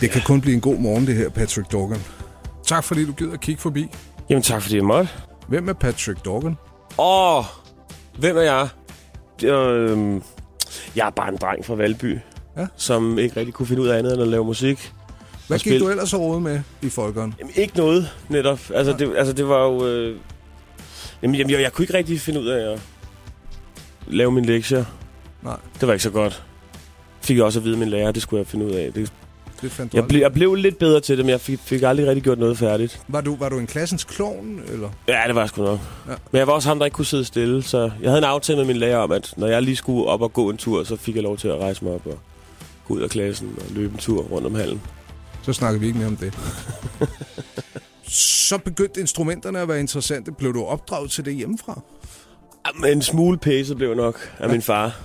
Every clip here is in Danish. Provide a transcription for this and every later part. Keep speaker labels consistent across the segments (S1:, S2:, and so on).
S1: Det kan kun blive en god morgen, det her, Patrick Dorgan. Tak fordi du gider at kigge forbi.
S2: Jamen tak, fordi jeg måtte.
S1: Hvem er Patrick Dorgan?
S2: Åh, hvem er jeg? Øh, jeg er bare en dreng fra Valby,
S1: Ja.
S2: ja. som ikke rigtig kunne finde ud af andet end at lave musik.
S1: Hvad
S2: Og
S1: gik
S2: spil.
S1: du ellers råd med i folkeren?
S2: Jamen, ikke noget, netop. Altså, det, altså, det var jo... Øh, jamen, jamen, jeg, jeg kunne ikke rigtig finde ud af at lave mine lektier.
S1: Nej.
S2: Det var ikke så godt. Fik jeg også at vide af min lærer, det skulle jeg finde ud af. Det,
S1: Det fandt du
S2: jeg,
S1: jeg
S2: ble, jeg blev lidt bedre til det, men jeg fik, fik aldrig rigtig gjort noget færdigt.
S1: Var du, var du en klassens klovn, eller?
S2: Ja, det var jeg sgu nok.
S1: Ja.
S2: Ja. Men jeg var også ham, der ikke kunne sidde stille, så jeg havde en aftale med min lærer om, at når jeg lige skulle op og gå en tur, så fik jeg lov til at rejse mig op og gå ud af klassen og løbe en tur rundt om hallen.
S1: Så snakker vi ikke mere om det. Så begyndte instrumenterne at være interessante. Blev du opdraget til det hjemmefra?
S2: Jamen, Ah, En smule pæse blev jeg nok af ja. min far.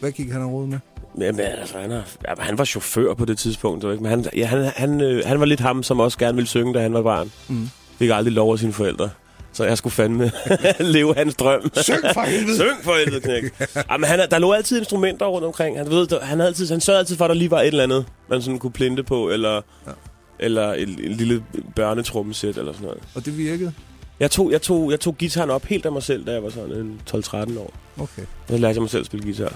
S1: Hvad gik han råd med?
S2: Jamen, altså, han, er, jamen, han var chauffør på det tidspunkt, ikke? men han, ja, han, han, øh, han var lidt ham, som også gerne ville synge, da han var barn.
S1: Mm.
S2: Fik aldrig lov af sine forældre, så jeg skulle fandme leve hans drøm.
S1: Søg for helvede!
S2: Syng for helvede, knæk. Jamen, han, er- der lå altid instrumenter rundt omkring. Han, du ved, der- han, havde altid, han sørgede altid for, at der lige var et eller andet, man sådan kunne plinte på, eller,
S1: Ja.
S2: ja. eller en, en lille børnetrummesæt eller sådan noget.
S1: Og det virkede?
S2: Jeg tog, jeg, tog, jeg tog gitaren op helt af mig selv, da jeg var sådan en 12-13 år.
S1: Okay.
S2: Så lærte jeg mig selv at spille guitar.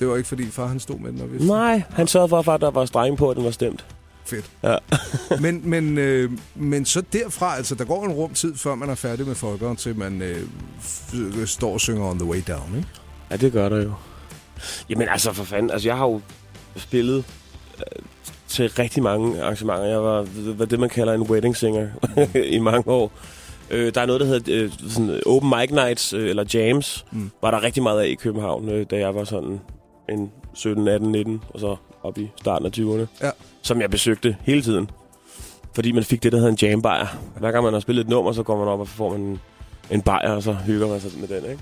S1: Det var ikke, fordi far han stod med den og viftede?
S2: Nej, han sørgede for, at der var strenge på, at den var stemt.
S1: Fedt.
S2: Ja.
S1: men, men, øh, men så derfra, altså der går en rum tid, før man er færdig med folkeren, til man øh, f- står og synger On The Way Down, ikke?
S2: Ja, det gør der jo. Jamen altså, for fanden. Altså, jeg har jo spillet øh, til rigtig mange arrangementer. Jeg var, var det, man kalder en wedding singer i mange år. Øh, der er noget, der hedder øh, sådan open mic nights, øh, eller jams,
S1: Mm.
S2: mm. var der rigtig meget af i København, øh, da jeg var sådan en 17, 18, 19, og så op i starten af 20'erne,
S1: Ja.
S2: som jeg besøgte hele tiden. Fordi man fik det, der hedder en jambajer. Hver gang man har spillet et nummer, så går man op og får man en, en bajer, og så hygger man sig med den, ikke?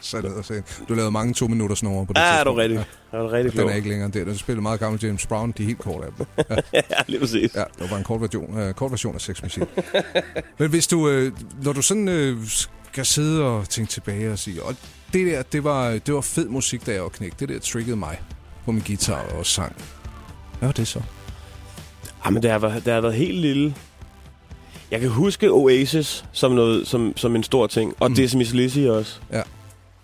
S1: så ned og sagde, du lavede mange to minutter snore på det
S2: Ja, er du
S1: tidspunkt.
S2: rigtig. Er du
S1: Ja,
S2: rigtig
S1: den
S2: klog.
S1: er ikke længere end det. Den spillede meget gammel James Brown, de er helt korte af dem.
S2: Ja, lige præcis.
S1: Ja, det var bare en kort version, øh, kort version af Sex Machine. Men hvis du, øh, når du sådan øh, skal sidde og tænke tilbage og sige, og det der, det var, det var fed musik, da jeg var knægt. Det der triggede mig på min guitar og sang. Hvad var det så?
S2: Jamen, Ah, det har, været, det har været helt lille. Jeg kan huske Oasis som, noget, som, som en stor ting. Og
S1: Mm.
S2: mm. Dismiss Lizzy også.
S1: Ja.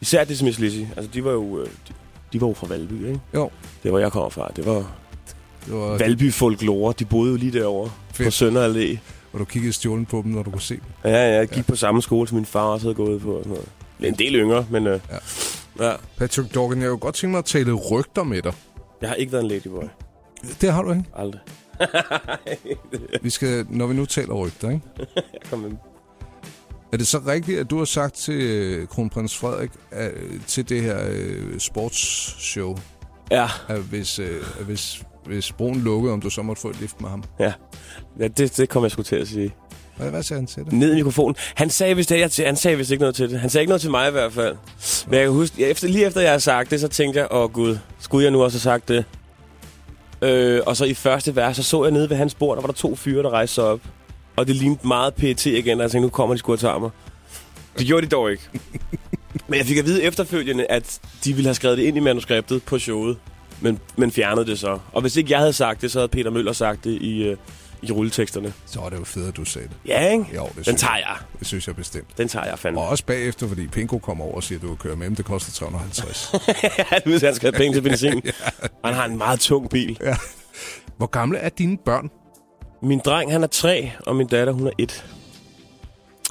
S2: Især Dismiss Lizzy. Altså, de var jo... øh, De, de var jo fra Valby, ikke?
S1: Jo.
S2: Det var jeg kommer fra. Det var
S1: Det var,
S2: Valby folklore. De boede jo lige derovre på
S1: Fedt.
S2: Sønder Allé.
S1: og du kiggede stjålen på dem, når du kunne se dem.
S2: Ja, ja, jeg gik ja. på samme skole, som min far også havde gået på. Og sådan noget. Men En del yngre, men... Øh,
S1: Ja.
S2: ja. ja.
S1: Patrick Dorgan, jeg kunne godt tænke mig at tale rygter med dig.
S2: Jeg har ikke været en ladyboy.
S1: Det har du ikke.
S2: Aldrig.
S1: Vi skal, når vi nu taler rygter, ikke?
S2: Jeg kom med
S1: Er det så rigtigt, at du har sagt til øh, kronprins Frederik, at, øh, til det her øh, sportsshow,
S2: Ja,
S1: at hvis, øh, at hvis, hvis broen lukkede, om du så måtte få et lift med ham?
S2: ja. ja det, det kom jeg sgu til at sige.
S1: Hvad, hvad sagde han til det?
S2: ned i mikrofonen. Han sagde vist, det, jeg, han sagde vist ikke noget til det. Han sagde ikke noget til mig i hvert fald. Men jeg kan huske, ja, efter, lige efter jeg havde sagt det, så tænkte jeg, åh gud, skulle jeg nu også have sagt det? Øh, og så i første vers, så så jeg nede ved hans bord, der var der to fyre, der rejste sig op. Og det lignede meget PET igen, og jeg tænkte, nu kommer de sgu og tager mig. Det gjorde de dog ikke. Men jeg fik at vide efterfølgende, at de ville have skrevet det ind i manuskriptet på showet, men, men fjernede det så. Og hvis ikke jeg havde sagt det, så havde Peter Møller sagt det i, øh, i rulleteksterne.
S1: Så var det jo fedt, at du sagde det.
S2: Ja, ikke?
S1: Jo, det
S2: Den
S1: synes,
S2: tager jeg.
S1: jeg, det synes jeg bestemt.
S2: Den tager jeg fandme.
S1: Og også bagefter, fordi Pinko kommer over og siger, at du kan køre med ham. Det koster 350.
S2: Ja, du ved, han skal have penge til benzin. Og han har en meget tung bil.
S1: Hvor gamle er dine børn?
S2: Min dreng, han er tre, og min datter, hun er et.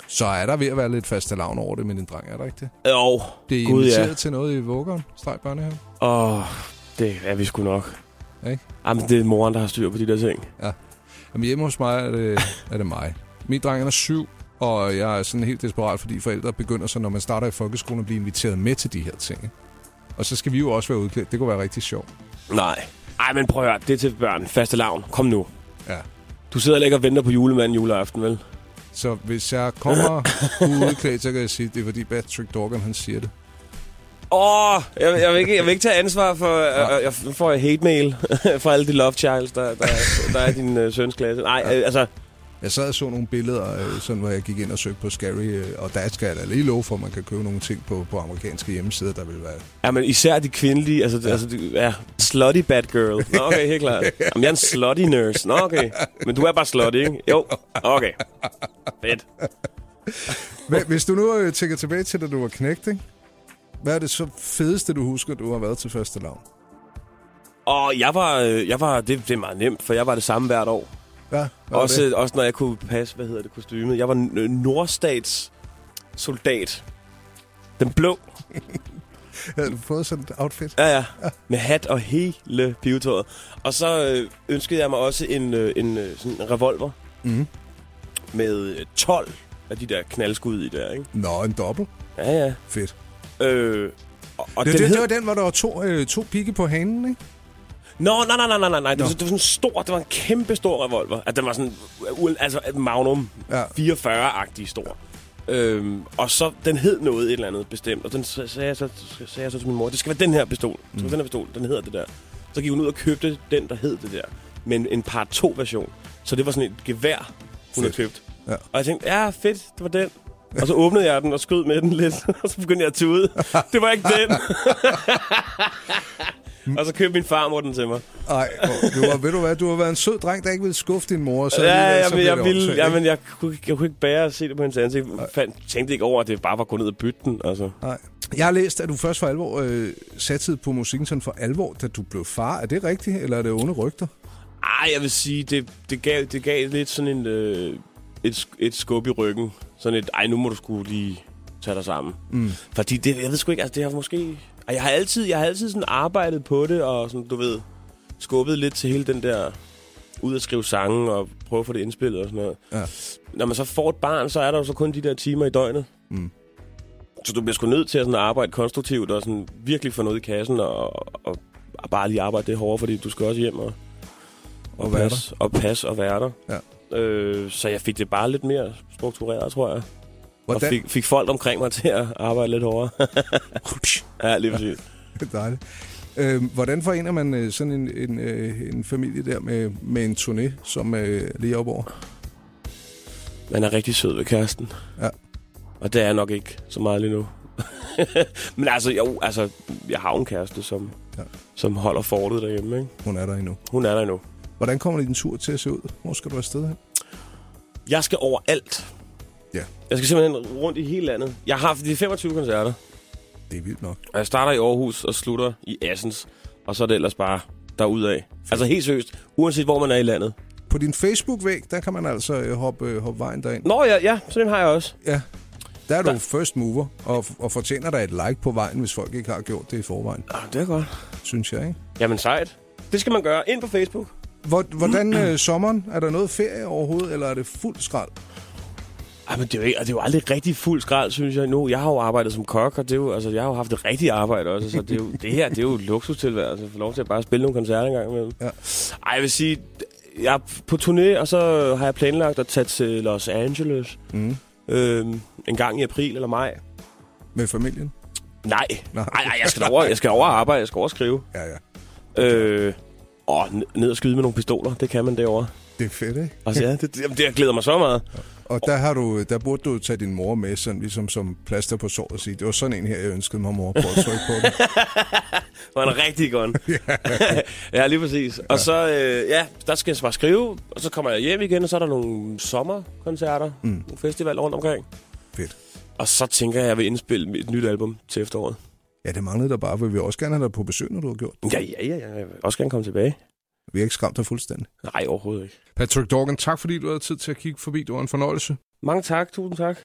S1: Så er der ved at være lidt faste lavn over det med din dreng, er der ikke det?
S2: Og,
S1: Det er
S2: Gud, ja.
S1: inviteret til noget i vuggeren, streg børnehave.
S2: og det er vi sgu nok.
S1: Ikke?
S2: Jamen, det er moren, der har styr på de der ting.
S1: Jamen hjemme hos mig er det, er det mig. Min dreng han er syv, og jeg er sådan helt desperat, fordi forældre begynder så, når man starter i folkeskolen, at blive inviteret med til de her ting. ikke? Og så skal vi jo også være udklædt. Det kunne være rigtig sjovt.
S2: Nej. Ej, men prøv at høre. Det er til børn. Faste lavn. Kom nu.
S1: Ja.
S2: Du sidder heller ikke og venter på julemanden juleaften, vel?
S1: Så hvis jeg kommer udklædt, så kan jeg sige, at det er fordi Patrick Dorgan, han siger det.
S2: Åh, oh, jeg, jeg, vil ikke, jeg vil ikke tage ansvar for... Øh, jeg, nu får jeg hate mail fra alle de love childs, der, der, der er i din øh, søns klasse. Nej, øh, altså...
S1: Jeg sad og så nogle billeder, øh, sådan, hvor jeg gik ind og søgte på Scary, øh, og der skal jeg da lige love for, at man kan købe nogle ting på, på amerikanske hjemmesider, der vil være...
S2: Ja, men især de kvindelige, altså, ja. altså de, ja, slutty bad girl. Nå, okay, helt klart. Jamen, jeg er en slutty nurse. Nå, okay. Men du er bare slutty, ikke? Jo, okay. Fedt.
S1: Men, hvis du nu øh, tænker tilbage til, da du var knægt, ikke? hvad er det så fedeste, du husker, du har været til første lav?
S2: Og jeg var, øh, jeg var det, det er meget nemt, for jeg var det samme hvert år.
S1: Ja, hvad var
S2: Også,
S1: det?
S2: også når jeg kunne passe, hvad hedder det, kostymet. Jeg var n- øh, nordstats soldat. Den blå.
S1: Havde du fået sådan et outfit?
S2: Ja, ja. Med hat og hele pivetøjet. Og så øh, ønskede jeg mig også en, øh, en øh, sådan en revolver
S1: Mm.
S2: med øh, 12 af de der knaldskud i der, ikke?
S1: Nå, en dobbelt.
S2: Ja, ja.
S1: Fedt.
S2: Øh, og, og
S1: Det,
S2: den
S1: det,
S2: hed...
S1: det var den, hvor der var to, øh, to pigge på hanen, ikke?
S2: Nå, nej, nej, nej, nej, nej, nej. Det, var,
S1: Nå.
S2: sådan- det var sådan en stor, det var en kæmpe stor revolver. Altså, den var sådan, u- altså Magnum
S1: Ja.
S2: 44-agtig stor. Øhm, og så, den hed noget et eller andet bestemt, og den s- sagde jeg så, s- sagde jeg så til min mor, det skal være den her pistol, det skal
S1: Mm.
S2: være den her pistol, den hedder det der. Så gik hun ud og købte den, der hed det der, men en par 2 version. Så det var sådan et gevær, hun havde
S1: Fedt.
S2: købt.
S1: Ja.
S2: Og jeg tænkte, ja, fedt, det var den. Og så åbnede jeg den og skød med den lidt, og så begyndte jeg at tude. Det var ikke den. og så købte min farmor den til mig.
S1: Ej, hvor- du var, ved du hvad, du har været en sød dreng, der ikke ville skuffe din mor. Så
S2: Ja,
S1: alligevel,
S2: ja,
S1: så
S2: men
S1: blev
S2: jeg,
S1: det
S2: ville,
S1: åndssvagt,
S2: ja,
S1: ikke?
S2: men jeg, kunne, ikke- jeg kunne ikke bære at se det på hendes ansigt. Fandt, tænkte ikke over, at det bare var gået ned og bytte den. Altså.
S1: Nej. Jeg har læst, at du først for alvor øh, satsede på musikken sådan for alvor, da du blev far. Er det rigtigt, eller er det onde rygter?
S2: Ej, jeg vil sige, det, det, gav, det gav lidt sådan en, øh, et, sk- et skub i ryggen. Sådan et, ej, nu må du skulle lige tage dig sammen. Mm. Fordi det, jeg ved sgu ikke, altså det har måske... Ej, jeg har altid, jeg har altid sådan arbejdet på det, og sådan, du ved, skubbet lidt til hele den der ud at skrive sange og prøve at få det indspillet og sådan noget.
S1: Ja.
S2: Når man så får et barn, så er der jo så kun de der timer i døgnet.
S1: Mm.
S2: Så du bliver sgu nødt til at sådan arbejde konstruktivt og sådan virkelig få noget i kassen og, og, og bare lige arbejde det hårdere, fordi du skal også hjem og,
S1: Og være
S2: passe, og passe og være der. Ja. Øh, så jeg fik det bare lidt mere struktureret, tror jeg. Og
S1: Hvordan?
S2: fik, fik folk omkring mig til at arbejde lidt hårdere. ja, lige præcis.
S1: Det er dejligt. Øh, hvordan forener man øh, sådan en, en, øh, en familie der med, med en turné, som øh, lige op over?
S2: Man er rigtig sød ved kæresten.
S1: Ja.
S2: Og det er jeg nok ikke så meget lige nu. Men altså, jo, altså, jeg har jo en kæreste, som,
S1: Ja.
S2: ja. som holder fortet derhjemme. Ikke?
S1: Hun er der endnu.
S2: Hun er der endnu.
S1: Hvordan kommer din tur til at se ud? Hvor skal du afsted hen?
S2: Jeg skal overalt.
S1: Ja.
S2: Jeg skal simpelthen rundt i hele landet. Jeg har haft de 25 koncerter.
S1: Det er vildt nok.
S2: Og jeg starter i Aarhus og slutter i Assens. Og så er det ellers bare derudad. Altså helt seriøst, uanset hvor man er i landet.
S1: På din Facebook-væg, der kan man altså øh, hoppe, øh, hoppe vejen derind.
S2: Nå ja, ja sådan en har jeg også.
S1: Ja. Der er du
S2: Der-
S1: first mover, og, og fortjener dig et like på vejen, hvis folk ikke har gjort det i forvejen,
S2: Ah, det er godt.
S1: synes jeg. Ikke?
S2: Jamen sejt. Det skal man gøre. Ind på Facebook.
S1: Hvor- Hvordan øh, sommeren? Er der noget ferie overhovedet, eller er det fuld skrald?
S2: Ej, men det er, jo ikke, og det er jo aldrig rigtig fuld skrald, synes jeg. Nu, jeg har jo arbejdet som kok, og det er jo, altså, jeg har jo haft et rigtigt arbejde også. Så det, er jo, det her, det er jo et luksustilværelse. Få lov til at bare spille nogle koncerter engang imellem.
S1: Ja.
S2: Ej, jeg vil sige, jeg er på turné, og så har jeg planlagt at tage til Los Angeles.
S1: Mm.
S2: Øhm, en gang i april eller maj.
S1: Med familien?
S2: Nej.
S1: Nej.
S2: Nej, nej, jeg skal da over, jeg skal over og arbejde, jeg skal over og skrive.
S1: Ja, ja.
S2: Øh, og n- ned og skyde med nogle pistoler, det kan man derovre.
S1: Det er fedt, ikke?
S2: Altså, ja, det, det, jamen, det jeg glæder mig så meget.
S1: Og der, har du, der burde du tage din mor med, sådan ligesom som plaster på såret og sige, det var sådan en her, jeg ønskede mig, mor. Prøv at trykke på den.
S2: Det var en rigtig gun. ja, lige præcis. Og så, øh, ja, der skal jeg så bare skrive, og så kommer jeg hjem igen, og så er der nogle sommerkoncerter, mm. nogle festivaler rundt omkring.
S1: Fedt.
S2: Og så tænker jeg, at jeg vil indspille et nyt album til efteråret.
S1: Ja, det manglede der bare, for vi vil også gerne have dig på besøg, når du har gjort det.
S2: Ja, ja, ja, ja. Jeg vil også gerne komme tilbage.
S1: Vi har ikke skræmt dig fuldstændig.
S2: Nej, overhovedet ikke.
S1: Patrick Dorgan, tak fordi du havde tid til at kigge forbi. Det var en fornøjelse.
S2: Mange tak, tusind tak.